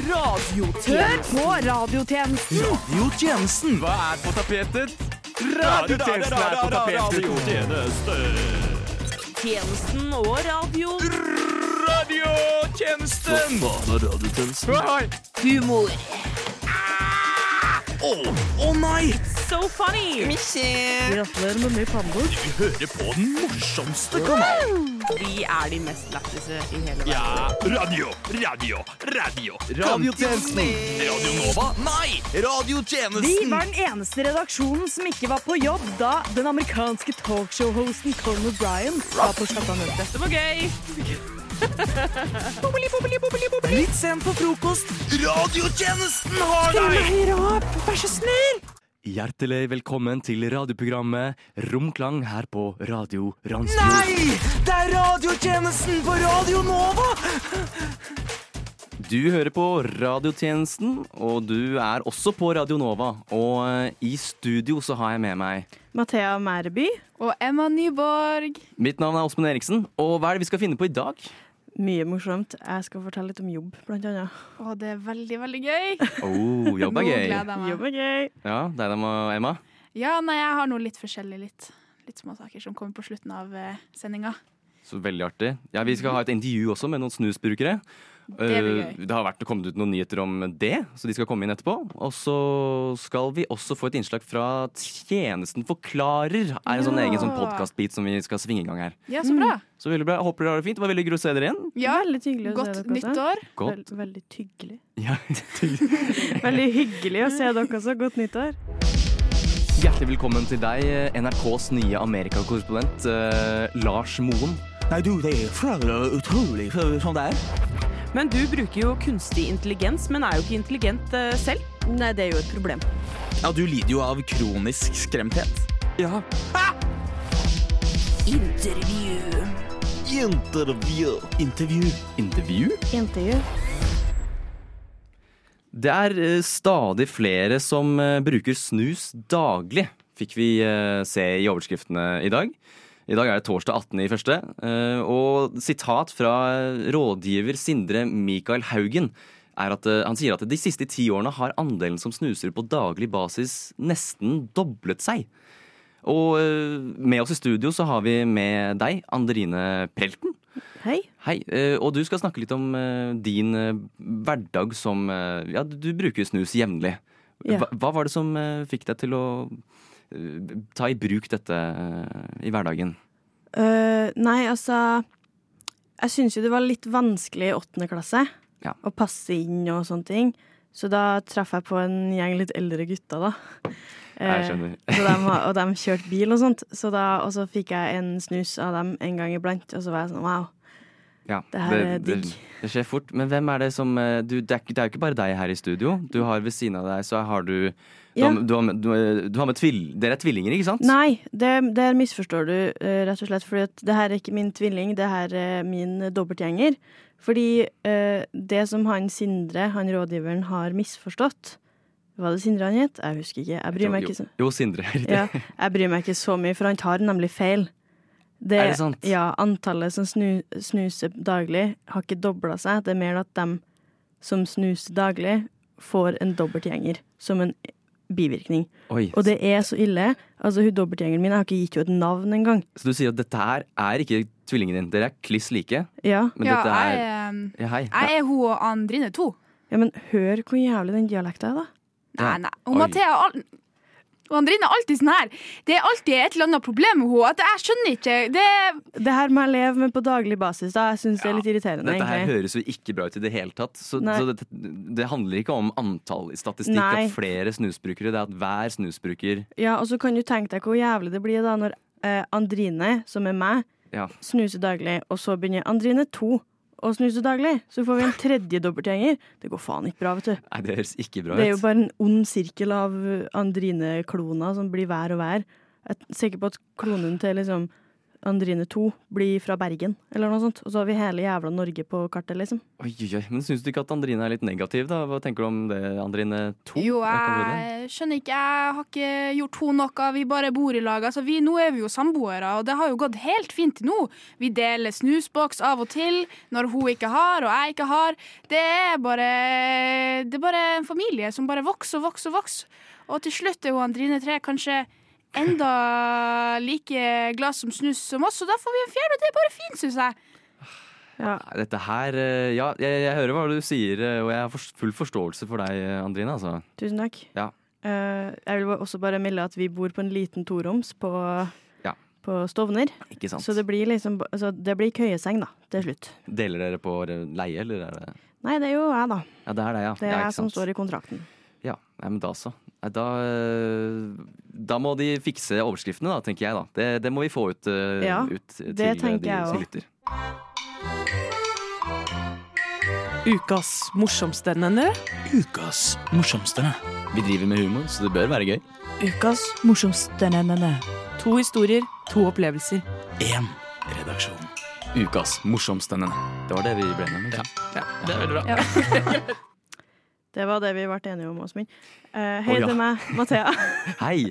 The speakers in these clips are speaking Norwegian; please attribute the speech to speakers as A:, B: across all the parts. A: Hør på radiotjenesten.
B: Radiotjenesten. Hva er på tapetet? Radiotjenesten er på tapetet.
A: Tjenesten og radio.
B: Radiotjenesten!
C: Faen er radiotjenesten.
B: Hei!
A: Humor.
B: Å å nei!
A: So funny. Gratulerer med mye pannebord.
B: Vi hører på den morsomste kanalen.
A: Vi er de mest lættise i hele verden.
B: Ja, radio, radio, radio.
C: Radiotjenesten.
B: Radio Nova? Nei!
D: Vi
B: Radiotjenesten.
D: var den eneste redaksjonen som ikke var på jobb da den amerikanske talkshow-hosten Colin O'Brien var på Chattanutte.
A: Det var gøy.
D: Litt sent på frokost.
B: Radiotjenesten har deg!
D: Høyere opp, vær så snill!
C: Hjertelig velkommen til radioprogrammet Romklang her på Radio Ransfjord.
B: Nei! Det er radiotjenesten på Radio Nova!
C: Du hører på radiotjenesten, og du er også på Radio Nova. Og eh, i studio så har jeg med meg
E: Mathea Mæreby.
F: Og Emma Nyborg.
C: Mitt navn er Åsmund Eriksen, og hva er det vi skal finne på i dag?
E: Mye morsomt. Jeg skal fortelle litt om jobb, blant annet.
F: Å, det er veldig, veldig gøy.
C: Oh, jobb
F: Nå
C: er gøy.
F: gleder jeg meg.
E: Jobb er gøy.
C: Ja, deg dem og Emma.
F: Ja, nei, jeg har noe litt forskjellig. Litt, litt småsaker som kommer på slutten av eh, sendinga.
C: Så veldig artig. Ja, vi skal ha et intervju også med noen snusbrukere.
F: Det blir
C: Eh,
F: gøy.
C: det har vært kommet ut noen nyheter om det, så de skal komme inn etterpå. Og så skal vi også få et innslag fra Tjenesten forklarer. er en sånn
F: Ja.
C: egen sånn podkastbit som vi skal svinge i gang her.
F: Ja, så bra.
C: Så veldig bra. Jeg håper dere har det fint. Det var veldig hyggelig å se dere igjen.
F: Mm. Ja,
E: Veldig hyggelig å se
F: Godt
E: dere også.
F: nyttår.
C: Godt.
E: Vel- veldig hyggelig.
C: Ja.
E: Veldig hyggelig å se dere også. Godt nyttår.
C: Hjertelig velkommen til deg, eh, NRKs nye Amerikakorrespondent eh, Lars Moen.
B: Nei, du, det er flagrende utrolig sånn det er.
A: Men du bruker jo kunstig intelligens, men er jo ikke intelligent eh, selv.
E: Nei, det er jo et problem.
B: Ja, du lider jo av kronisk skremthet.
C: Ja.
A: Intervju.
B: Intervju. Intervju.
C: Intervju?
E: Intervju.
C: Det er eh, stadig flere som eh, bruker snus daglig, fikk vi eh, se i overskriftene i dag. I dag er det torsdag 18. i første, eh, og sitat fra eh, rådgiver Sindre Mikael Haugen er at eh, han sier at de siste ti årene har andelen som snuser på daglig basis nesten doblet seg. Og eh, med oss i studio så har vi med deg, Anderine Prelten.
E: Hei.
C: Hei, eh, og du skal snakke litt om eh, din eh, hverdag som eh, Ja, du du bruker snus jevnlig.
E: Ja.
C: Hva, hva var det som eh, fikk deg til å eh, ta i bruk dette eh, i hverdagen?
E: Øh, nei, altså Jeg syns jo det var litt vanskelig i åttende klasse
C: Ja.
E: å passe inn og sånne ting. Så da traff jeg på en gjeng litt eldre gutter, da.
C: Jeg
E: Eh,
C: skjønner.
E: Så de, var- og de kjørte bil og sånt. Så da, og så fikk jeg en snus av dem en gang iblant, og så var jeg sånn wow.
C: Ja,
E: det her er
C: det,
E: digg.
C: det skjer fort. Men hvem er det som eh, du, det, er, ikke- det er jo ikke bare deg her i studio. Du har ved siden av deg, så har du Du,
E: Ja.
C: har, med- du, har, med- du, eh, du har med tvill... Dere er tvillinger, ikke sant?
E: Nei, det, der misforstår du, eh, rett og slett. Fordi at det her er ikke min tvilling, det her er min dobbeltgjenger. Fordi eh, det som han Sindre, han rådgiveren, har misforstått Var det Sindre han het? Jeg husker ikke. Jeg bryr meg ikke så
C: Jo, jo Sindre. riktig.
E: ja, jeg bryr meg ikke så mye, for han tar nemlig feil.
C: Er det sant?
E: Ja, antallet som snu, snuser daglig, har ikke dobla seg. Det er mer at dem som snuser daglig, får en dobbeltgjenger som en bivirkning.
C: Oi.
E: Og det er så ille. Altså, hun dobbeltgjengeren min, jeg har ikke gitt henne et navn engang.
C: Så du sier at dette her er ikke tvillingen din. Dere er kliss like,
E: Ja.
C: men
F: ja,
C: dette er
F: jeg, eh,
C: Ja, hei.
F: jeg er hun og Andrine to.
E: ja, men hør hvor jævlig den dialekta er, da.
F: Nei,
C: Ja.
F: nei.
C: Oi.
F: Og Mathea al og Andrine er alltid sånn her. Det er alltid et eller annet problem med henne. At jeg skjønner ikke. Det er
E: Det her må jeg leve med på daglig basis, da. Jeg syns det er litt irriterende,
C: Dette her
E: egentlig.
C: høres jo ikke bra ut i det hele tatt. Så,
E: Nei.
C: så dette, det handler ikke om antall i statistikk.
E: Nei.
C: At flere snusbrukere, det er at hver snusbruker
E: Ja, og så kan du tenke deg hvor jævlig det blir da når eh, Andrine, som er meg,
C: Ja.
E: snuser daglig, og så begynner Andrine to å snuse daglig. Så får vi en tredje dobbeltgjenger. Det går faen ikke bra, vet du.
C: Nei, det høres ikke bra
E: Det er jo
C: ut.
E: bare en ond sirkel av Andrine-kloner som blir hver og hver. Jeg er sikker på at klonen til liksom Andrine 2 blir fra Bergen, eller noe sånt. Og så har vi hele jævla Norge på kartet, liksom.
C: Oi, oi, oi. Men syns du ikke at Andrine er litt negativ, da? Hva tenker du om det, Andrine 2?
F: Jo, jeg skjønner ikke. Jeg har ikke gjort henne noe. Vi bare bor i lag. Altså, vi, nå er vi jo samboere, og det har jo gått helt fint til nå. Vi deler snusboks av og til når hun ikke har og jeg ikke har. Det er bare, det er bare en familie som bare vokser og vokser og vokser. Og til slutt er hun Andrine 3 kanskje enda like glad som snus som oss, og da får vi en fjerde, og det er bare fint, syns jeg.
C: Nei, Dette her eh, Ja, jeg, jeg hører hva du sier, eh, og jeg har forst- full forståelse for deg, eh, Andrine. Altså.
E: Tusen takk.
C: Ja.
E: Eh, jeg vil ba- også bare melde at vi bor på en liten toroms på,
C: Ja.
E: på Stovner.
C: Ikke sant?
E: Så det blir liksom ba- altså, Det blir køyeseng, da, til slutt.
C: Deler dere på leie, eller er det
E: Nei, det er jo jeg, da.
C: Ja, det er det, ja.
E: Det er
C: ja, ikke
E: jeg som
C: sant.
E: står i kontrakten.
C: Ja, nei, men da så. Nei, Da, eh, da må de fikse overskriftene, da, tenker jeg. da. Det, det må vi få ut, eh,
E: Ja,
C: ut til
E: det
C: eh,
E: tenker
C: de
E: jeg
C: som
E: også.
C: lytter.
A: Ukas morsomstendende.
B: Ukas morsomste.
C: Vi driver med humor, så det bør være gøy.
A: Ukas morsomstendende. To historier, to opplevelser.
B: Én redaksjon.
C: Ukas morsomstende. Det var det vi ble enige om. ikke sant?
B: Det er veldig bra.
E: Det var det vi ble enige om, Åsmund. Uh, hei
C: Å, ja.
E: til meg, Mathea.
C: Hei!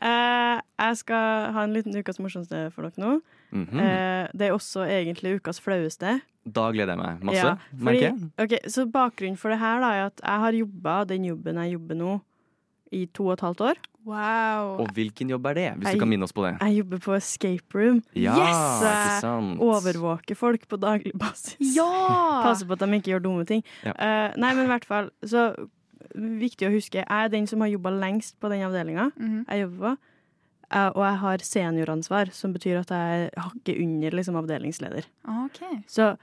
E: Eh, jeg skal ha en liten ukas morsomste for dere nå.
C: Mhm.
E: Eh, det er også egentlig ukas flaueste.
C: Da gleder jeg meg masse.
E: Ja,
C: merker jeg.
E: fordi- ok, så bakgrunnen for det her da, er at jeg har jobba den jobben jeg jobber nå, i to og et halvt år.
F: Wow.
C: Og hvilken jobb er det, hvis
E: Ei.
C: du kan minne oss på det?
E: Jeg jobber på escape room.
C: Ja,
E: Yes!
C: ikke sant?
E: Overvåker folk på daglig basis.
F: Ja!
E: Passe på at de ikke gjør dumme ting.
C: Ja.
E: Eh, nei, men i hvert fall, så viktig å huske, jeg er den som har jobba lengst på den avdelinga
F: Mhm.
E: jeg jobber på. Eh, og jeg har senioransvar, som betyr at jeg hakker under liksom, avdelingsleder.
F: OK.
E: Så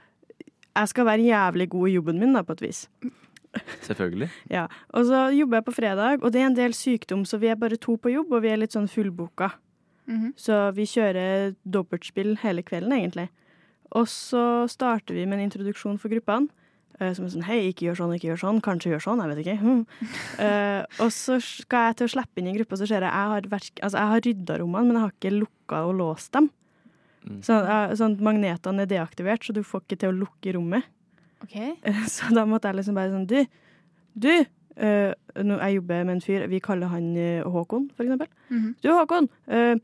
E: jeg skal være jævlig god i jobben min, da, på et vis.
C: Selvfølgelig.
E: Ja. Og så jobber jeg på fredag, og det er en del sykdom, så vi er bare to på jobb, og vi er litt sånn fullboka.
F: Mhm.
E: Så vi kjører dobbeltspill hele kvelden, egentlig. Og så starter vi med en introduksjon for gruppene. eh, Som er sånn Hei, ikke gjør sånn, ikke gjør sånn. Kanskje gjør sånn, jeg vet ikke. Hm. Eh, og så skal jeg til å slippe inn i gruppa, så ser jeg jeg har, verk- altså, jeg har rydda rommene, men jeg har ikke lukka og låst dem.
C: Mm.
E: Så, eh, sånn at magnetene er deaktivert, så du får ikke til å lukke rommet.
F: Ok.
E: Så da måtte jeg liksom bare sånn Du, du eh, nå, Jeg jobber med en fyr, vi kaller han eh, Håkon, for eksempel.
F: Mhm.
E: Du, Håkon, eh,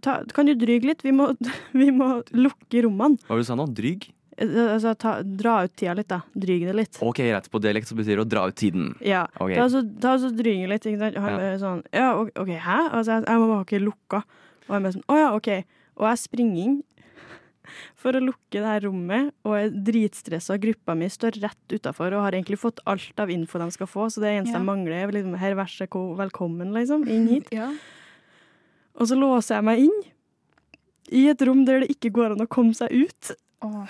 E: ta, kan du dryge litt? Vi må, vi må lukke rommene.
C: Hva var det du sa nå? Dryg?
E: Eh, Altså ta, dra ut tida litt, da. Dryge det litt.
C: Ok, greit. På dialekt så betyr det å dra ut tiden.
E: Ja.
C: Ok.
E: Ta så, ta så dryge litt. Ikke sant? Og Han
C: Ja.
E: bare sånn Ja, ok, ok, hæ? Altså, jeg, jeg må bare ha ikke lukka. Og jeg bare sånn Å ja, OK. Og jeg springer inn. For å lukke det her rommet, og er dritstressa. Gruppa mi står rett utafor og har egentlig fått alt av info de skal få, så det eneste
F: Ja.
E: jeg mangler, er liksom, her, vær så ko- velkommen, liksom, inn hit.
F: Ja.
E: Og så låser jeg meg inn i et rom der det ikke går an å komme seg ut.
F: Åh.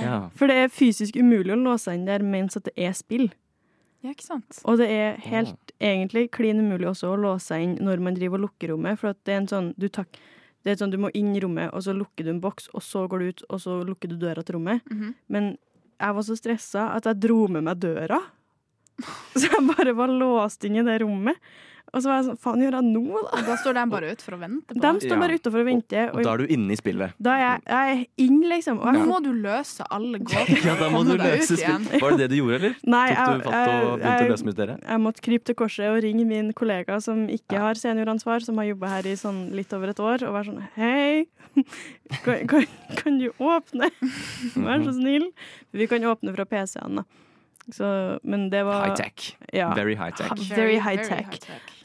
C: Ja.
E: For det er fysisk umulig å låse seg inn der mens at det er spill.
F: Ja, ikke sant?
E: Og det er helt egentlig klin umulig også å låse seg inn når man driver og lukker rommet, for at det er en sånn du tak, det er sånn, du må inn i rommet, og så lukker du en boks, og så går du ut, og så lukker du døra til rommet.
F: Mhm.
E: Men jeg var så stressa at jeg dro med meg døra. Så jeg bare var låst inn i det rommet. Og så var jeg sånn, faen gjør jeg nå, da?
F: Og da står de bare ut for å vente på
E: De
F: deg.
E: står
C: Ja.
E: bare utafor og venter.
C: Og da er du inne i spillet.
E: da er jeg, jeg er inn, liksom. Og jeg,
F: Nå må du løse alle gåtene.
C: Ja, da må
F: Komme
C: du
F: deg ut
C: løse
F: igjen.
C: spillet. Var det det du gjorde, eller?
E: nei,
C: Tok du
E: jeg,
C: fatt og begynte
E: jeg-
C: å løse mysteriet?
E: jeg måtte krype til korset og ringe min kollega som ikke har senioransvar, som har jobba her i sånn litt over et år, og være sånn Hei, kan, kan, kan du åpne? Vær så snill. Vi kan åpne fra PC-en, da. Så, men det var
C: High-tech.
E: Ja.
C: Very high-tech.
E: Very high tech.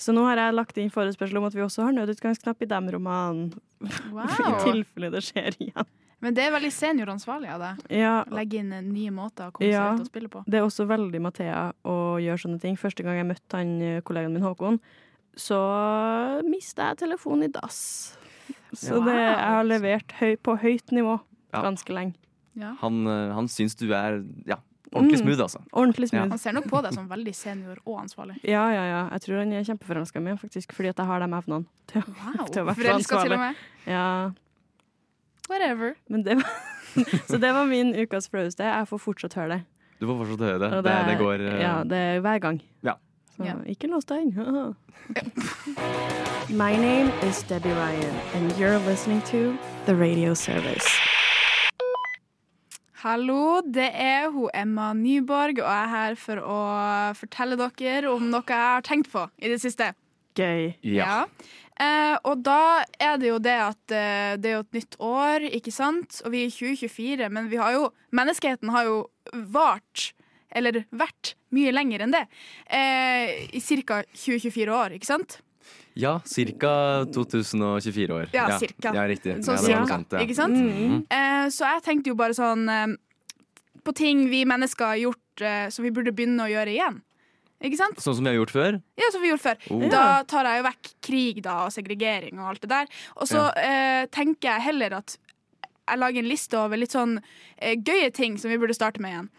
E: Så nå har jeg lagt inn forespørsel om at vi også har nødutgangsknapp i dem-romanen. I
F: Wow.
E: tilfelle det skjer igjen.
F: Men det er veldig senioransvarlig av deg.
E: Ja,
F: Å Legge inn eh, nye måter å komme
E: Ja.
F: seg ut og spille på.
E: Det er også veldig Mathea å gjøre sånne ting. Første gang jeg møtte han eh, kollegaen min, Håkon, så mista jeg telefonen i dass. Så
F: Wow.
E: det, jeg har levert høy, på høyt nivå
C: Ja.
E: ganske lenge.
F: Ja.
C: Han, eh, han syns du er ja, ordentlig
E: Mm.
C: smooth, altså. Ja.
E: Ordentlig smooth.
F: Han ser nok på deg som veldig senior og ansvarlig.
E: Ja, ja, ja. Jeg tror han er kjempeforelska i meg, faktisk, fordi at jeg har de evnene. til å-
F: Wow.
E: Til å være
F: Forelska
E: ansvarlig.
F: til og med.
E: Ja,
F: Whatever.
E: men det var Så det var min ukas flaueste. Jeg får fortsatt høre det.
C: Du får fortsatt høre det.
E: Og
C: Det, det går eh,
E: ja, det er hver gang.
C: Ja.
E: Så
F: Ja.
E: ikke lås deg inn. My name is Debbie Ryan, and you're listening to The Radio Service.
F: Hallo, det er hun Emma Nyborg, og jeg er her for å fortelle dere om noe jeg har tenkt på i det siste.
E: Gøy.
C: Ja.
F: Eh, og da er det jo det at eh, det er jo et nytt år, ikke sant? Og vi er i 2024, men vi har jo, menneskeheten har jo vart, eller vært, mye lenger enn det. Eh, I ca. 2024 år, ikke sant?
C: Ja, ca. 2024 år.
F: Ja, cirka.
C: Ja, riktig.
F: Sånn
C: ja, det var noe
F: cirka,
C: sånt, ja. Mm.
F: ikke sant? Eh, så jeg tenkte jo bare sånn eh, på ting vi mennesker har gjort eh, som vi burde begynne å gjøre igjen. Ikke sant?
C: Sånn som vi har gjort før?
F: Ja, som vi gjorde før.
C: Oh.
F: Da tar jeg jo vekk krig da, og segregering og alt det der. Og så eh, tenker jeg heller at jeg lager en liste over litt sånn eh, gøye ting som vi burde starte med igjen.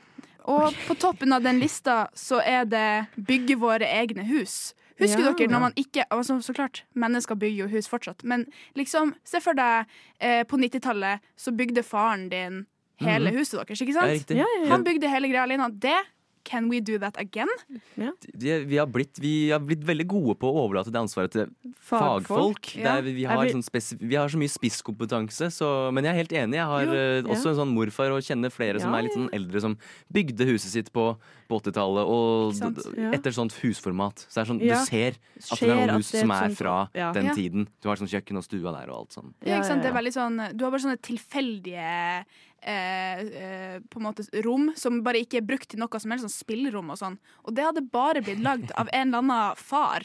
F: Og på toppen av den lista så er det bygge våre egne hus. Husker
E: Ja.
F: dere når man ikke altså, Så klart, mennesker bygger jo hus fortsatt, men liksom, se for deg eh, på 90-tallet så bygde faren din hele huset deres, Mhm. ikke
C: Ja,
F: sant?
C: riktig.
F: Han bygde hele greia alene. Det Can we do that again?
C: Vi, vi, har blitt, vi har blitt veldig gode på å overlate det ansvaret til fagfolk.
F: Ja.
C: Der vi, vi, har
E: Er vi-
C: sånn spesif- vi har så mye spisskompetanse, så, men jeg er helt enig. Jeg har
E: Jo,
C: eh,
E: ja.
C: også en sånn morfar og kjenner flere som
E: Ja,
C: er litt sånn eldre, som bygde huset sitt på, på 80-tallet og
F: Ikke sant?
C: d-
E: Ja.
C: etter sånt husformat. Så det er sånn,
E: Ja.
C: du ser at det
E: Skjer
C: er
E: at
C: noen hus
E: det er
C: som
E: et
C: er
E: sånt-
C: fra
E: ja.
C: den
F: Ja.
C: tiden. Du har sånn kjøkken og stua der og alt sånn.
F: Ja, ikke sant? Det er
E: ja.
F: veldig sånn, du har bare sånne tilfeldige eh, eh, på en måte rom som bare ikke er brukt til noe som helst, sånn spillerom og sånn. Og det hadde bare blitt lagd av en eller annen far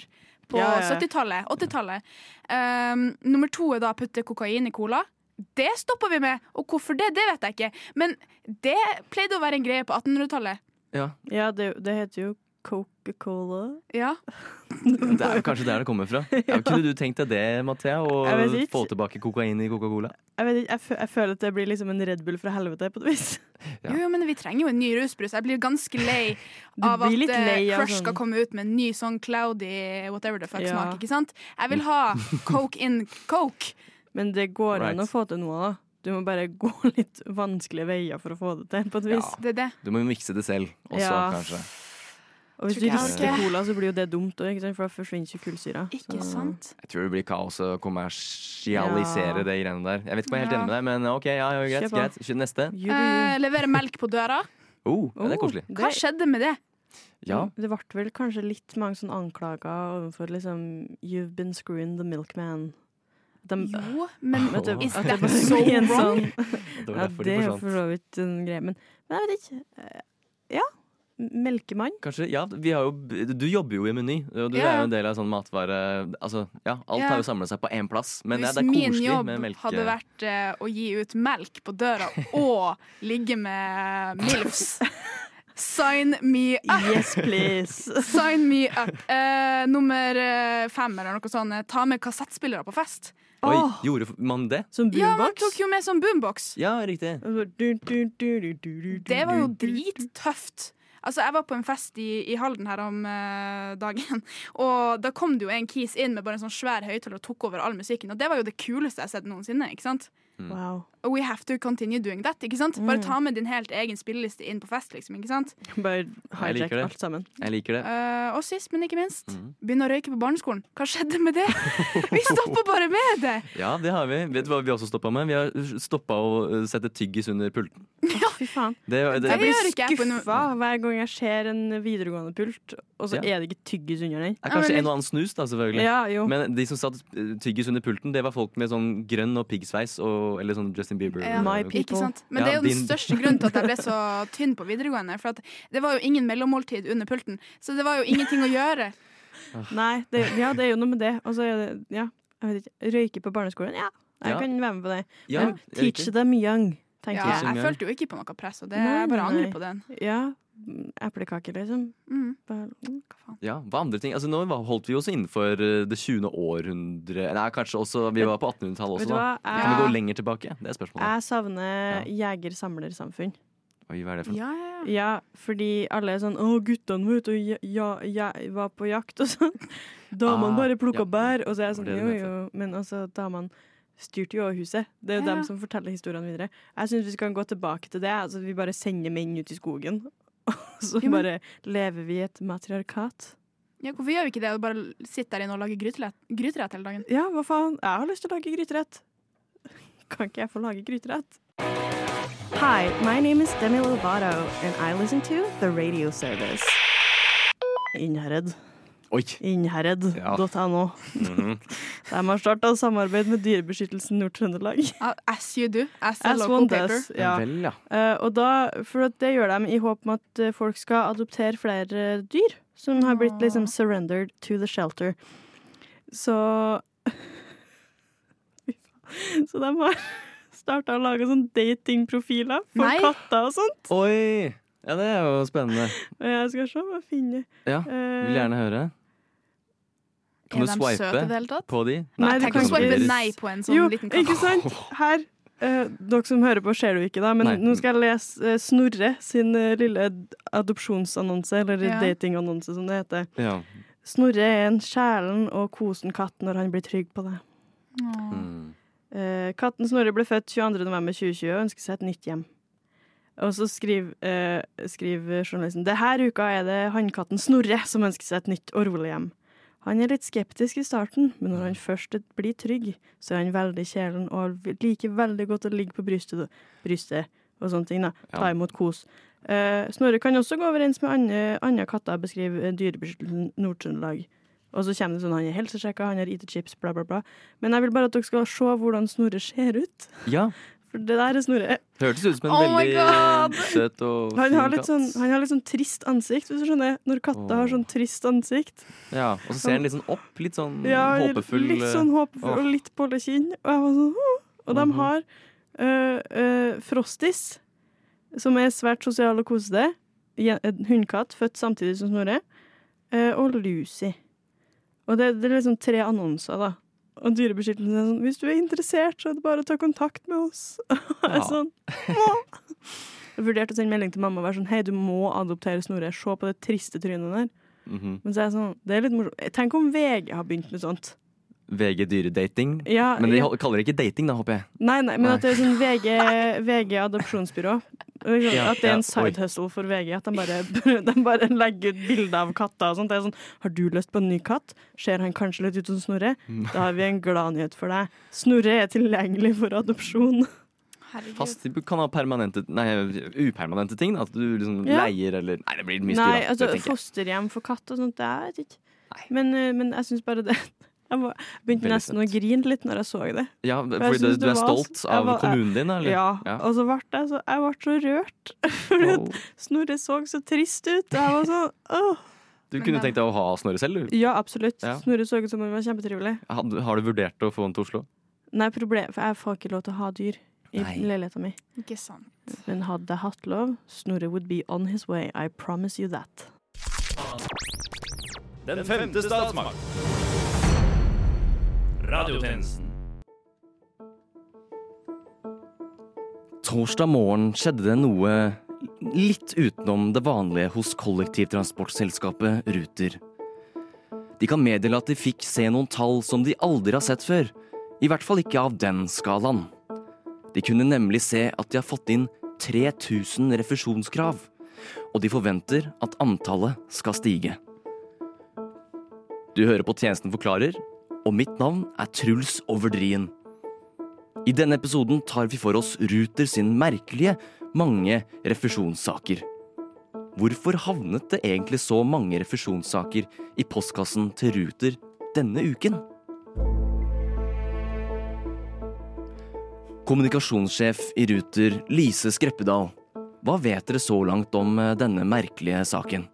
F: på
E: Ja, ja.
F: 70-tallet, 80-tallet. Um, nummer to er da å putte kokain i cola. Det stopper vi med, og hvorfor det, det vet jeg ikke. Men det pleide å være en greie på 1800-tallet.
C: Ja,
E: Ja, det, det heter jo Coca-Cola.
F: Ja.
C: Det er jo kanskje der det kommer fra. Ja, Kunne du tenkt deg det, Mathea? Å
E: Jeg vet ikke.
C: få tilbake kokain i Coca-Cola?
E: Jeg, vet, ikke, jeg, fø- jeg føler at det blir liksom en Red Bull fra helvete, på et vis.
C: Ja.
F: Jo, jo, men vi trenger jo en ny rusbrus. Jeg blir ganske lei
E: Du
F: av at
E: blir litt
F: eh,
E: lei av
F: Crush skal
E: sånn-
F: komme ut med en ny sånn cloudy whatever the
E: Ja.
F: fuck-smak. ikke sant? Jeg vil ha coke in coke.
E: Men det går an
C: Right.
E: å få til noe, da. Du må bare gå litt vanskelige veier for å få det til, på et vis.
F: Det er det.
C: Du må jo mikse det selv også,
E: Ja.
C: kanskje.
E: Og hvis
F: Tror
E: du
F: ikke jeg
E: rister
F: orker.
E: cola, så blir jo det dumt òg, for da forsvinner ikke kullsyra.
F: Ikke
E: Så-
F: sant?
C: Jeg tror det blir kaos å kommersialisere
E: Ja.
C: det greiene der. Jeg vet ikke om jeg er helt
F: Ja.
C: enig med deg, men ok, ja, ja,
E: Kjør
C: greit.
E: på.
C: greit. Kjør Neste.
E: You do you.
F: Eh, levere melk på døra.
C: Oh, ja, det er
E: Oh,
C: koselig.
F: Hva
E: det-
F: skjedde med det?
C: Ja.
E: Det ble vel kanskje litt mange sånn anklager overfor liksom You've been screwing the milkman. De,
F: Jo, men
E: Vet du,
F: is
E: at det
F: that
E: bare
F: so
E: blir en
F: wrong?
E: sånn-
C: Det var
E: Ja,
C: derfor de
E: det er jo for
C: forsvant.
E: så vidt en greie, men, men jeg vet ikke. eh, Ja. Melkemann.
C: Kanskje, ja, vi har jo, du jobber jo i Meny, og du
F: Ja, ja.
C: er jo en del av sånn matvare... Altså, ja, alt
F: Ja.
C: har jo samlet seg på én plass, men ja,
F: Hvis
C: det er
F: min
C: koselig
F: jobb
C: med melke...
F: hadde vært eh, å gi ut melk på døra og ligge med MILFs Sign me up!
E: Yes, please.
F: Sign me up. Eh, nummer eh, fem eller noe sånt. eh, Ta med kassettspillere på fest.
C: Oi,
E: Åh.
C: gjorde man det?
E: Som
F: Ja, man
E: boombox. Altså,
F: tok jo med sånn boombox.
C: Ja, riktig.
F: Det
E: Det
F: var jo drittøft. Altså, jeg var på en fest i, i Halden her om eh, dagen, og da kom det jo en kis inn med bare en sånn svær høyttaler og tok over all musikken, og det var jo det kuleste jeg har sett noensinne, ikke sant?
E: Wow.
F: Og we have to continue doing that, ikke sant? Bare ta med din helt egen spilleliste inn på fest, liksom, ikke sant?
E: Bare
C: liker
E: hijack
C: det.
E: alt sammen.
C: Jeg liker det.
F: Eh, og sist, men ikke minst, begynne å røyke på barneskolen. Hva skjedde med det? Vi stopper bare med det!
C: Ja, det har vi. Vet du hva vi også stoppa med? Vi har stoppa å eh, sette tyggis under pulten.
E: Å, fy faen.
C: Det, det,
F: Jeg
E: Jeg
F: gjør ikke jeg
E: blir
F: på noe-
E: skuffa hver gang jeg ser en videregående pult, og så
C: Ja.
E: er det ikke tyggis under
C: er
E: den.
F: Ja, men-
C: kanskje en og annen snus, da, selvfølgelig.
E: Ja, jo.
C: Men de som satt eh, tyggis under pulten, det var folk med sånn grønn og piggsveis og eller sånn Justin Bieber.
F: Ja.
E: My
C: eh,
E: people.
F: Ikke sant?
C: Ja,
F: Men det er jo den
C: din-
F: største grunnen til at jeg ble så tynn på videregående. For at det var jo ingen mellommåltid under pulten, så det var jo ingenting å gjøre.
E: Nei, det, ja, det er jo noe med det. Og så er det ja, jeg vet ikke, røyke på barneskolen. Ja,
C: Ja.
E: jeg kan være med på det.
C: ja,
E: Men teach
C: riktig.
E: them young,
F: Ja,
E: tenker jeg.
F: jeg følte jo ikke på noe press, og det,
E: Nei,
F: jeg bare
E: nei.
F: angrer på den.
E: Ja. Eplekake, liksom.
F: Mm.
E: Bare, mm.
C: ja, hva andre ting? Altså, nå var- holdt vi oss innenfor eh, det 20. århundre Nei, kanskje også Vi var på 1800-tallet
E: Vet
C: også, da.
E: du hva? Eh,
C: Kan
E: Jeg,
C: vi gå lenger tilbake? Det er spørsmålet.
E: jeg savner jeger-samlersamfunn.
C: Oi, hva er det for noe?
F: Ja, ja, ja.
E: Ja, fordi alle er sånn 'Å, guttene var ute og ja, ja, ja, var på jakt', og sånn. Damene
C: Ah,
E: bare plukka
C: ja.
E: bær. Og så er
C: Det var
E: jeg sånn
C: det du
E: Jo,
C: mente.
E: jo. Men altså, damene styrte jo også huset. Det er jo
F: Ja.
E: dem som forteller historiene videre. Jeg syns vi skal gå tilbake til det. Altså, vi bare sender menn ut i skogen. Og så
F: Jo, men-
E: bare lever vi i et matriarkat.
F: Ja, hvorfor gjør vi ikke det og bare sitter der inne og lager gryterett, gryterett hele dagen?
D: Ja, hva faen? Jeg har lyst til å lage gryterett. Kan ikke jeg få lage gryterett?
E: Hi, my name is Demi Lovato, and I listen to the radio service. Innherred.
C: Oi! Mhm.
E: Innherred.no. De har starta samarbeid med Dyrebeskyttelsen Nord-Trøndelag.
F: Ah, As you do. As, a
E: As
F: local
E: one
F: paper.
E: does. Ja.
C: Vel, ja.
E: Eh, og da, for at det gjør de i håp om at eh, folk skal adoptere flere dyr som har blitt liksom surrendered to the shelter. Så Fy faen. Så de har starta å lage sånn datingprofiler for
F: Nei.
E: katter og sånt.
C: Oi! Ja, det er jo spennende.
E: Og jeg skal se om jeg finner
C: Ja,
E: eh,
C: Vil gjerne høre. Kan
F: er
C: du
F: de søte i det
C: swipe
F: hele tatt?
C: på de?
E: Nei,
F: Tenk
E: kan
F: å
E: ikke-
F: swipe
E: Sånn
F: nei på en sånn
E: Jo,
F: liten katt.
E: ikke sant? Her. eh, dere som hører på, ser det jo ikke, da, men
C: Nei.
E: nå skal jeg lese eh, Snorre sin eh, lille adopsjonsannonse, eller
F: Ja.
E: datingannonse, som det heter.
C: Ja.
E: Snorre er en kjælen og kosen katt når han blir trygg på det.
C: Mm.
E: Eh, katten Snorre ble født 22.11.2020 og ønsker seg et nytt hjem. Og så skriver, eh, skriver journalisten Denne uka er det hannkatten Snorre som ønsker seg et nytt og rolig hjem. Han er litt skeptisk i starten, men når han først blir trygg, så er han veldig kjælen og liker veldig godt å ligge på brystet, brystet og sånne ting. da. Ta
C: Ja.
E: imot kos. Eh, Snorre kan også gå overens med andre, andre katter, beskriver Dyrebeskyttelsen Nord-Trøndelag. Og så kommer det sånn, han er helsesjekka, han har IT chips, bla, bla, bla. Men jeg vil bare at dere skal se hvordan Snorre ser ut.
C: ja.
E: For det der er Snorre.
C: Hørtes ut som en
F: Oh my
C: veldig
F: God!
C: eh, søt og
E: Han
C: fin
E: har litt
C: katt.
E: sånn, han har litt sånn trist ansikt, hvis du skjønner. Når katter har sånn trist ansikt.
C: Ja, og så ser han litt sånn opp, litt sånn
E: Ja,
C: håpefull. eh,
E: Litt sånn håpefull
C: åh. Mhm.
E: og litt bolle kinn. Og jeg var sånn «Åh». Og de har øh, øh, Frostis, som er svært sosial og kosete. Je- En hundkatt født samtidig som Snorre. eh, og Lucy. Og det, det er liksom tre annonser, da. Og Dyrebeskyttelsen er sånn Hvis du er interessert, så er det bare å ta kontakt med oss. Og jeg er
C: Ja.
E: sånn «Må». Jeg vurderte å sende melding til mamma og være sånn Hei, du må adoptere Snorre. Se på det triste trynet der.
C: Mhm.
E: Men så er jeg sånn, det er litt morsomt. Tenk om VG har begynt med sånt.
C: VG dyredating.
E: Ja,
C: Men de
E: ja.
C: hol- kaller det ikke dating, da, håper jeg.
E: Nei, nei, men
C: Nei.
E: at det er sånn VG, VG adopsjonsbyrå. Liksom,
C: Ja,
E: at det er
C: ja,
E: en side
C: oi.
E: hustle for VG. At de bare, de bare legger ut bilder av katter og sånt. Det er sånn, har du lyst på en ny katt? Ser han kanskje litt ut som Snorre?
C: Mm.
E: Da har vi en gladnyhet for deg. Snorre er tilgjengelig for adopsjon.
F: Herregud.
C: Fast du kan ha permanente, nei, upermanente ting. da. At du liksom
E: Ja.
C: leier eller Nei, det blir mye styr.
E: Nei,
C: da,
E: altså
C: det tenker jeg.
E: fosterhjem for katt og sånt, det er jeg vet ikke.
C: Nei.
E: Men, eh, men jeg syns bare det Jeg var- begynte
C: Veldig
E: nesten å grine litt når jeg så det.
C: Ja,
E: jeg
C: fordi
E: synes
C: du, du
E: det
C: er
E: var-
C: stolt
E: jeg
C: av
E: var-
C: kommunen din, eller?
E: Ja, og så ble jeg så, jeg ble så rørt. Fordi at
C: Åh.
E: Snorre så så trist ut. og Jeg var sånn, åh.
C: Du kunne tenkt deg å ha Snorre selv, du.
E: Ja, absolutt.
C: Ja.
E: Snorre så ut som han var kjempetrivelig.
C: Har har du vurdert å få han til Oslo?
E: Nei, problem, for jeg får ikke lov til å ha dyr i
C: Nei.
E: leiligheta mi.
F: Ikke sant.
E: Men hadde jeg hatt lov, Snorre would be on his way. I promise you that.
G: Den femte statsmakt. Radiotjenesten.
C: Torsdag morgen skjedde det noe litt utenom det vanlige hos kollektivtransportselskapet Ruter. De kan meddele at de fikk se noen tall som de aldri har sett før. I hvert fall ikke av den skalaen. De kunne nemlig se at de har fått inn 3000 refusjonskrav. Og de forventer at antallet skal stige. Du hører på Tjenesten forklarer, og mitt navn er Truls Overdrien. I denne episoden tar vi for oss Ruter sin merkelige mange refusjonssaker. Hvorfor havnet det egentlig så mange refusjonssaker i postkassen til Ruter denne uken? Kommunikasjonssjef i Ruter, Lise Skreppedal. Hva vet dere så langt om eh, denne merkelige saken?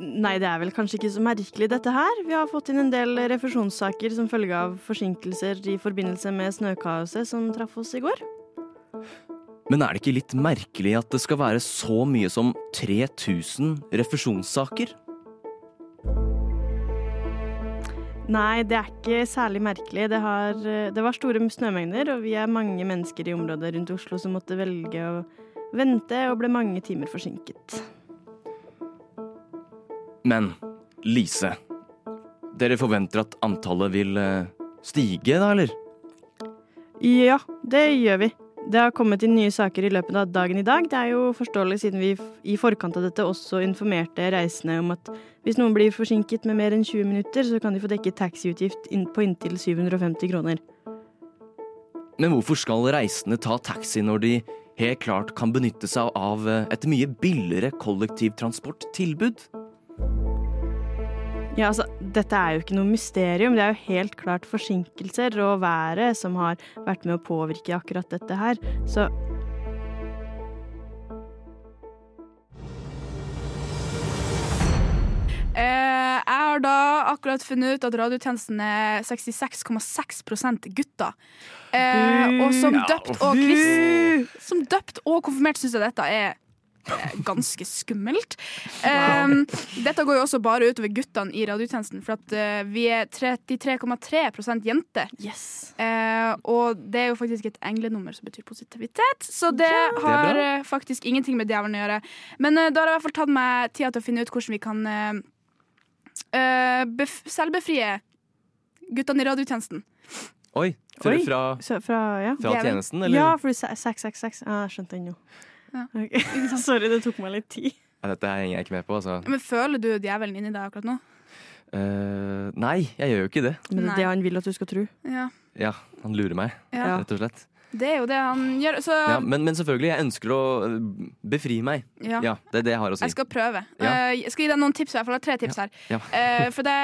E: Nei, det er vel kanskje ikke så merkelig dette her. Vi har fått inn en del refusjonssaker som følge av forsinkelser i forbindelse med snøkaoset som traff oss i går.
C: Men er det ikke litt merkelig at det skal være så mye som 3000 refusjonssaker?
E: Nei, det er ikke særlig merkelig. Det, har, eh, det var store snømengder, og vi er mange mennesker i området rundt Oslo som måtte velge å vente og ble mange timer forsinket.
C: Men Lise, dere forventer at antallet vil eh, stige, da, eller?
E: Ja, det gjør vi. Det har kommet inn nye saker i løpet av dagen i dag. Det er jo forståelig siden vi f- i forkant av dette også informerte reisende om at Hvis noen blir forsinket med mer enn 20 minutter, så kan de få dekket taxiutgift inn på inntil 750 kroner.
C: Men hvorfor skal reisende ta taxi når de helt klart kan benytte seg av eh, et mye billigere kollektivtransporttilbud?
E: Ja, altså, dette er jo ikke noe mysterium. Det er jo helt klart forsinkelser og været som har vært med å påvirke akkurat dette her. Så
F: Eh, jeg har da akkurat funnet ut at radiotjenesten er 66,6 gutter. Eh, og som døpt og krist, Som døpt og konfirmert syns jeg dette er eh, ganske skummelt. Eh, dette går jo også bare utover guttene i radiotjenesten, for at eh, vi er 33,3 jenter.
E: yes.
F: Eh, og det er jo faktisk et englenummer som betyr positivitet, så det har
C: bra.
F: eh, faktisk ingenting med djevelen å gjøre. Men eh, da har jeg i hvert fall tatt meg tida til å finne ut hvordan vi kan eh, eh, bef selvbefrie guttene i radiotjenesten.
C: Oi, fra,
E: Oi.
C: fra,
E: Så fra Ja,
C: fra
F: Det er vel-
C: tjenesten, eller?
E: ja for du sa 666. Ah, jeg skjønte den jo.
F: Ja.
E: Ok. Sorry, det tok meg litt tid.
C: Nei, Dette henger jeg ikke med på, altså.
F: Men føler du djevelen inni deg akkurat nå?
C: Eh, nei, jeg gjør jo ikke det.
E: Men det
F: Nei.
E: er det han vil at du skal tro.
F: Ja.
C: Ja, han lurer meg,
F: Ja.
C: rett og slett.
F: Det er jo det han gjør, så
C: Ja, men, men selvfølgelig, jeg ønsker å eh, befri meg.
F: ja.
C: Ja, det er det jeg har å si.
F: Jeg skal prøve.
C: Ja.
F: Eh, jeg skal gi deg noen tips, i hvert fall. Jeg har tre tips her.
C: Ja.
F: Eh, for det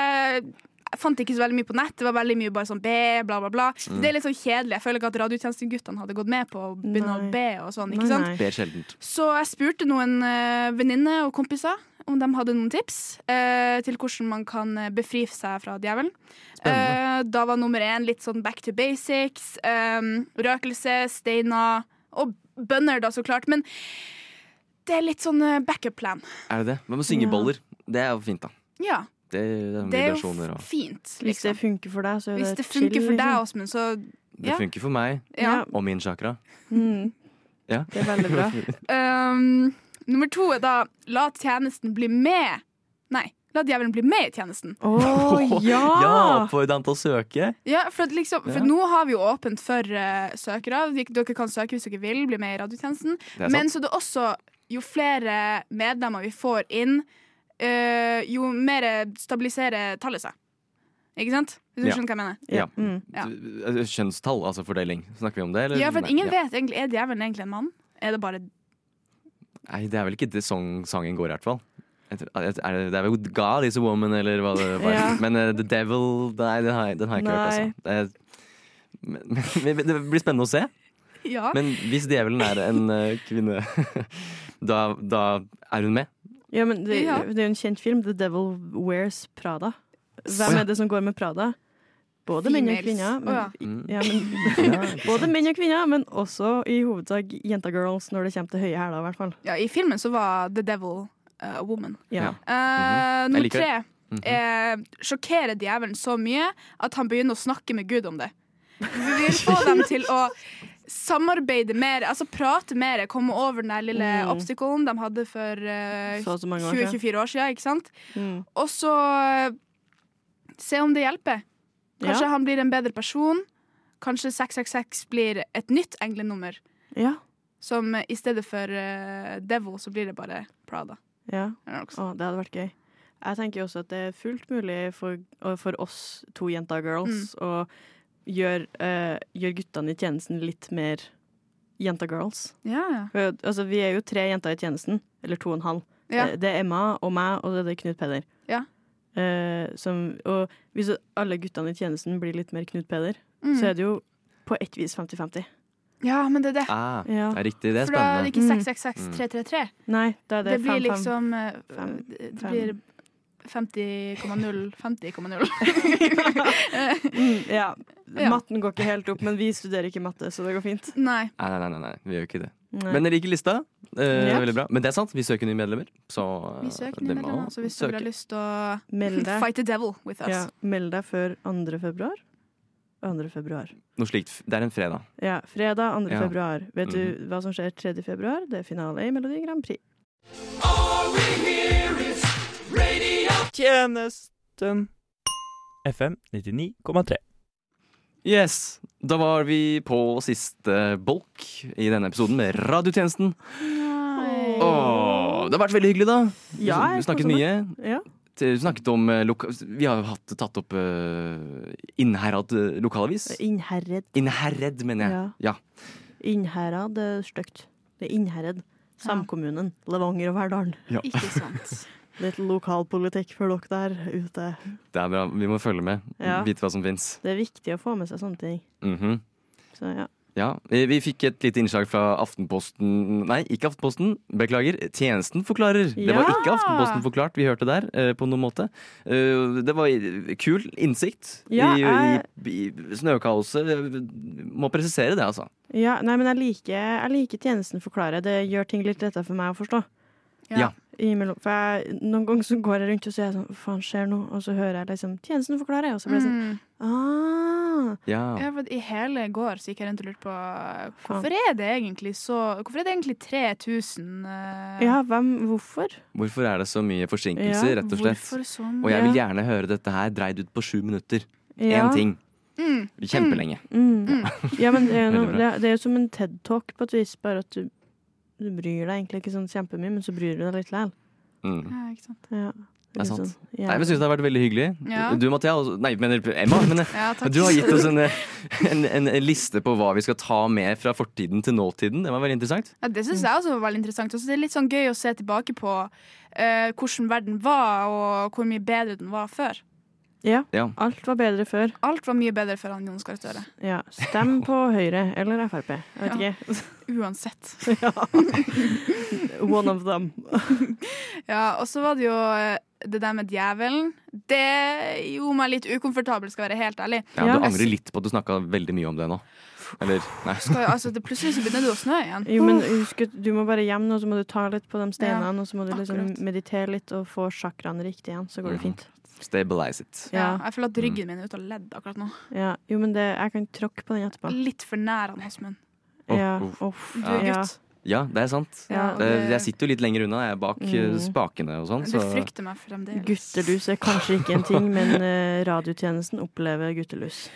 F: jeg fant ikke så veldig mye på nett. Det var veldig mye bare sånn be, bla, bla, bla.
C: Mm.
F: Det er litt sånn kjedelig. Jeg føler ikke at radiotjenesteguttene hadde gått med på å begynne
E: Nei.
F: å be og sånn.
E: Nei,
F: ikke sant?
E: nei.
C: Ber sjeldent.
F: Så jeg spurte noen uh, venninner og kompiser om de hadde noen tips eh, til hvordan man kan eh, befri seg fra djevelen.
C: Spennende.
F: Eh, da var nummer én litt sånn back to basics. em, røkelse, steiner og bønner, da, så klart. Men det er litt sånn eh, backup plan.
C: Er det det? Hva med syngeboller? Det er jo fint, da.
F: Ja,
C: Det, det er
F: det er jo
C: Sånn vibrasjoner og
F: f- fint.
E: Hvis det
F: Liksom.
E: funker for deg, så er
F: Hvis
E: det
F: det funker
E: chill,
F: for deg,
E: liksom.
F: Åsmund, så
C: Det
F: Ja.
C: funker for meg
F: ja.
C: og min chakra.
E: Mm.
C: Ja.
E: Det er veldig bra.
F: Um, nummer to er da la tjenesten bli med. Nei, la djevelen bli med i tjenesten.
E: Å ja!
C: Ja, oppfordre han til å søke.
F: Ja, for, at liksom, for
C: Ja.
F: nå har vi jo åpent for eh, søkere. De- Dere kan søke hvis dere vil, bli med i radiotjenesten.
C: Det er
F: Men
C: sant.
F: så det er også jo flere medlemmer vi får inn, eh, jo mer stabiliserer tallet seg. Ikke sant? Hvis du
C: Ja.
F: skjønner hva jeg mener?
C: Ja.
E: Mm.
F: ja.
C: Du- Kjønnstall, altså fordeling. Snakker vi om det, eller?
F: Ja, for at
C: Nei.
F: ingen vet egentlig Er djevelen egentlig en mann? Er det bare
C: Nei, det er vel ikke det song, sangen går i hvert fall. Jeg tror- Er det, det er vel God is a woman, eller hva det var.
E: Ja.
C: Men eh, The Devil, nei, den har jeg, den har jeg ikke
E: Nei.
C: hørt, altså. Det, er, men, men, det blir spennende å se.
F: Ja.
C: Men hvis djevelen er en eh, kvinne, da, da er hun med.
E: Ja, men det,
F: Ja.
E: det er jo en kjent film. The Devil Wears Prada.
C: Å,
E: Hvem
C: ja.
E: er det som går med Prada? Både menn og
F: Females.
E: kvinner. Men,
F: Å,
C: Mm.
E: ja, men,
C: Ja, ikke
E: både
C: sant.
E: menn og kvinner, men også i hovedsak jentagirls når det kommer til høye hæler, i hvert fall.
F: ja, I filmen så var The Devil eh, a woman.
E: Ja.
C: Ja.
F: Eh, Nummer
C: Mhm. liker
F: tre
C: det. Mhm.
F: eh, sjokkerer djevelen så mye at han begynner å snakke med Gud om det. Vi vil få dem til å samarbeide mer, altså prate mer, komme over den der lille
E: Mm.
F: obstaclen de hadde for eh,
E: Så og så mange år siden.
F: 20-24 år siden, ikke sant?
E: Mm.
F: Og så eh, se om det hjelper. Kanskje
E: Ja.
F: han blir en bedre person. Kanskje 666 blir et nytt englenummer.
E: Ja.
F: Som eh, i stedet for eh, Devil, så blir det bare Prada.
E: ja.
F: Eller noe sånt.
E: Å, det hadde vært gøy. Jeg tenker jo også at det er fullt mulig for, og for oss to jentagirls
F: Mm.
E: å gjøre eh, gjøre guttene i tjenesten litt mer jentagirls.
F: Ja, ja.
E: For, Altså, vi er jo tre jenter i tjenesten, eller to og en halv. Eh,
F: Ja.
E: Det, det er Emma og meg, og det er Knut Peder.
F: Ja.
E: Eh, som, og hvis alle guttene i tjenesten blir litt mer Knut Peder,
F: Mm.
E: så er det jo på ett vis 50-50.
F: ja, men det er det.
C: Ah,
E: Ja.
C: det er riktig, det er
F: For da er det
C: spennende.
F: ikke
E: Mm.
F: 666333.
E: Nei, da er
F: Det
E: det
F: blir
E: 5-5.
F: liksom eh,
E: Fem-
F: Det det
E: fem.
F: blir 50,0 50,0.
E: Mm, ja.
F: Ja.
E: Matten går ikke helt opp, men vi studerer ikke matte, så det går fint.
F: Nei.
C: Nei, nei, nei, nei, nei, vi gjør jo ikke det.
E: Nei.
C: Men jeg liker lista. Eh,
E: Ja.
C: Veldig bra. Men det er sant, vi søker nye medlemmer. Så eh,
F: Vi søker
C: det
F: nye
C: må
F: medlemmer, så altså, hvis dere
C: søke.
F: har lyst til å
E: meld deg,
F: fight the devil with us.
E: ja, meld deg før 2. februar. 2. februar.
C: Noe slikt. f- Det er en fredag.
E: Ja, fredag 2.
C: Ja.
E: februar. Vet
C: Mhm.
E: du hva som skjer 3. februar? Det er finale i Melodi Grand Prix.
H: Tjenesten. FM 99,3.
C: Yes! Da var vi på siste bolk i denne episoden med Radiotjenesten.
F: Nei.
C: Åh, det har vært veldig hyggelig, da.
E: Ja,
C: vi
E: jeg
C: snakket
E: koser
C: mye.
E: Ja.
C: Hun snakket om eh, loka Vi har jo hatt, tatt opp eh, Innherad eh, lokalavis.
E: Innherred.
C: Innherred, mener jeg. Ja.
E: Innherad det er stygt. Det er Innherred. Samkommunen. Levanger og Verdalen.
F: Ikke sant.
E: Litt lokalpolitikk for dere der ute.
C: Det er bra. Vi må følge med.
E: Ja.
C: Vite hva som fins.
E: Det er viktig å få med seg sånne ting.
C: Mhm.
E: Så ja.
C: Ja, eh, Vi fikk et lite innslag fra Aftenposten Nei, ikke Aftenposten. Beklager. Tjenesten forklarer. Det var
E: Ja!
C: ikke Aftenposten forklart. Vi hørte der eh, på noen måte. Eh, det var i- kul innsikt
E: Ja, eh.
C: i, i, i snøkaoset. Jeg Må presisere det, altså.
E: Ja, nei, men jeg liker, jeg liker tjenesten forklare. Det gjør ting litt lettere for meg å forstå.
F: Ja.
C: Ja.
E: Imellom, for jeg, noen ganger så går jeg rundt og så er jeg sånn, faen skjer nå? Og så hører jeg liksom, tjenesten forklare, og så blir jeg sånn,
F: Mm.
E: ah,
C: Ja.
F: Ja, for I hele går så gikk jeg rundt og lurte på hvorfor er det egentlig så Hvorfor er det egentlig 3000 eh,
E: ja, hvem, hvorfor?
C: Hvorfor er det så mye forsinkelser,
E: Ja,
C: rett og slett?
F: Hvorfor sånn?
C: Og jeg vil gjerne høre dette her dreid ut på sju minutter. Én
E: Ja.
C: ting.
F: Mm.
C: Kjempelenge.
E: Mm. Ja, men det er, jo
C: Veldig
E: noe, det, er- det er jo som en TED-talk på et vis, bare at du, du bryr deg egentlig ikke sånn kjempemye, men så bryr du deg litt likevel.
C: Mm.
F: Ja, ikke sant.
E: Ja,
C: Det er
E: litt
C: sant.
E: sånn, ja.
C: Nei, men Jeg syns det har vært veldig hyggelig.
F: Ja.
C: Du, Mathea. også- Nei, mener Emma. Men eh,
F: Ja, takk.
C: du har gitt oss en, en, en, en liste på hva vi skal ta med fra fortiden til nåtiden. Det var veldig interessant.
F: Ja, det syns jeg også var veldig interessant. Også det er litt sånn gøy å se tilbake på eh, hvordan verden var, og hvor mye bedre den var før.
E: Ja,
C: Ja.
E: alt var bedre før.
F: Alt var mye bedre før han Jonas Gahr Støre.
E: Ja, stem på Høyre eller Frp. Jeg vet
F: Ja.
E: ikke.
F: Uansett.
E: One of them.
F: Ja, og så var det jo eh, det der med djevelen. Det gjorde meg litt ukomfortabel, skal jeg være helt ærlig.
C: Ja,
E: Ja.
C: Du angrer litt på at du snakka veldig mye om det nå. Eller nei.
F: Skal, jo- altså, det, plutselig så begynner det å snø igjen.
E: Jo, men husk at du må bare hjem nå, så må du ta litt på de
F: Ja,
E: steinene, og så må du liksom
F: akkurat.
E: meditere litt og få chakraene riktig igjen, så
C: Mhm.
E: går det fint.
C: Stabilize it.
F: Ja,
E: Ja,
F: jeg føler at ryggen min er ute av ledd akkurat nå.
E: ja. Jo, men det, jeg kan tråkke på den etterpå.
F: Litt for nær han Åsmund.
C: Åh,
E: Ja,
C: uff.
E: uff.
F: Du
C: Ja.
F: er
E: Ja.
F: gutt.
C: Ja, det er sant.
E: Ja,
F: og
C: Det, jeg
F: det,
C: sitter jo litt lenger unna. Jeg er bak eh,
E: Mm.
C: spakene og sånn.
F: du
C: Så
F: frykter meg fremdeles.
E: Guttelus er kanskje ikke en ting, men eh, radiotjenesten opplever guttelus.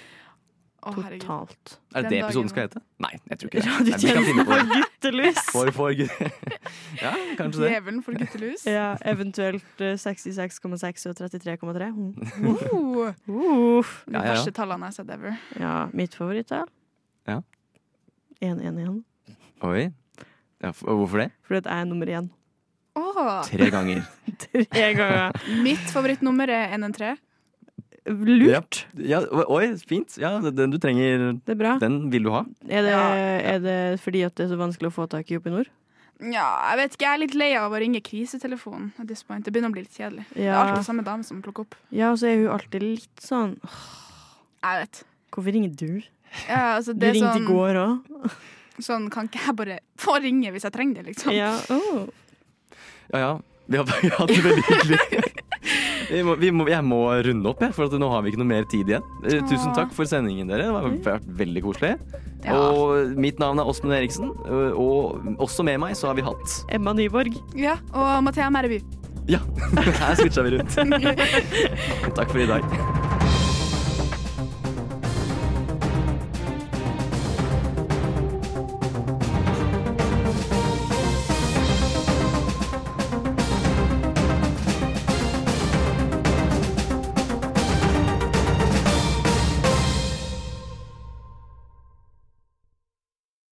F: Å, herregud.
E: Totalt.
C: er det
F: den
C: det
F: dagen-
C: episoden skal hete? Nei, jeg tror ikke det. Nei, vi kan
E: Radiotjenesten
C: finne på
E: for
C: det.
E: guttelus!
C: For, for Gud. Ja, kanskje det.
F: Djevelen for guttelus.
E: Ja, eventuelt eh, 66,6 og 33,3. Mm.
F: Oh,
E: Uff.
F: de
C: Ja, ja, ja.
F: verste tallene jeg har sett ever.
E: Ja, mitt favorittall.
C: Ja.
E: 1-1-1.
C: Oi. Ja, f- og hvorfor det?
E: Fordi at jeg er nummer én.
F: Åh,
C: Tre ganger.
E: Tre ganger.
F: mitt favorittnummer er 113.
E: Lurt.
C: Ja, oi, fint. Ja, den du trenger,
E: Det er bra.
C: den vil du ha.
E: Er det,
F: Ja.
E: er det fordi at det er så vanskelig å få tak i oppe i nord?
F: Ja, jeg vet ikke, jeg er litt lei av å ringe krisetelefonen. at this point. Det begynner å bli litt kjedelig. Det er
E: Ja.
F: alltid sånn. samme dame som plukker opp.
E: Ja, og så er hun alltid litt sånn «Åh,
F: Jeg vet.
E: Hvorfor ringer du?
F: Ja, altså,
E: Du
F: det er
E: ringte i
F: sånn,
E: går òg.
F: sånn kan ikke jeg bare få ringe hvis jeg trenger det, liksom.
E: Ja, Oh. åh.
C: Ja, ja. Vi har vi har hatt det veldig hyggelig. Vi må, vi må, jeg må runde opp, jeg, for at nå har vi ikke noe mer tid igjen. Eh, Tusen
F: Åh.
C: takk for sendingen, dere. Det har vært veldig koselig.
F: Ja.
C: Og mitt navn er Åsmund Eriksen, eh, og også med meg så har vi hatt
E: Emma Nyborg.
F: Ja, og Mathea Merby.
C: Ja, her switcha vi rundt. Takk for i dag.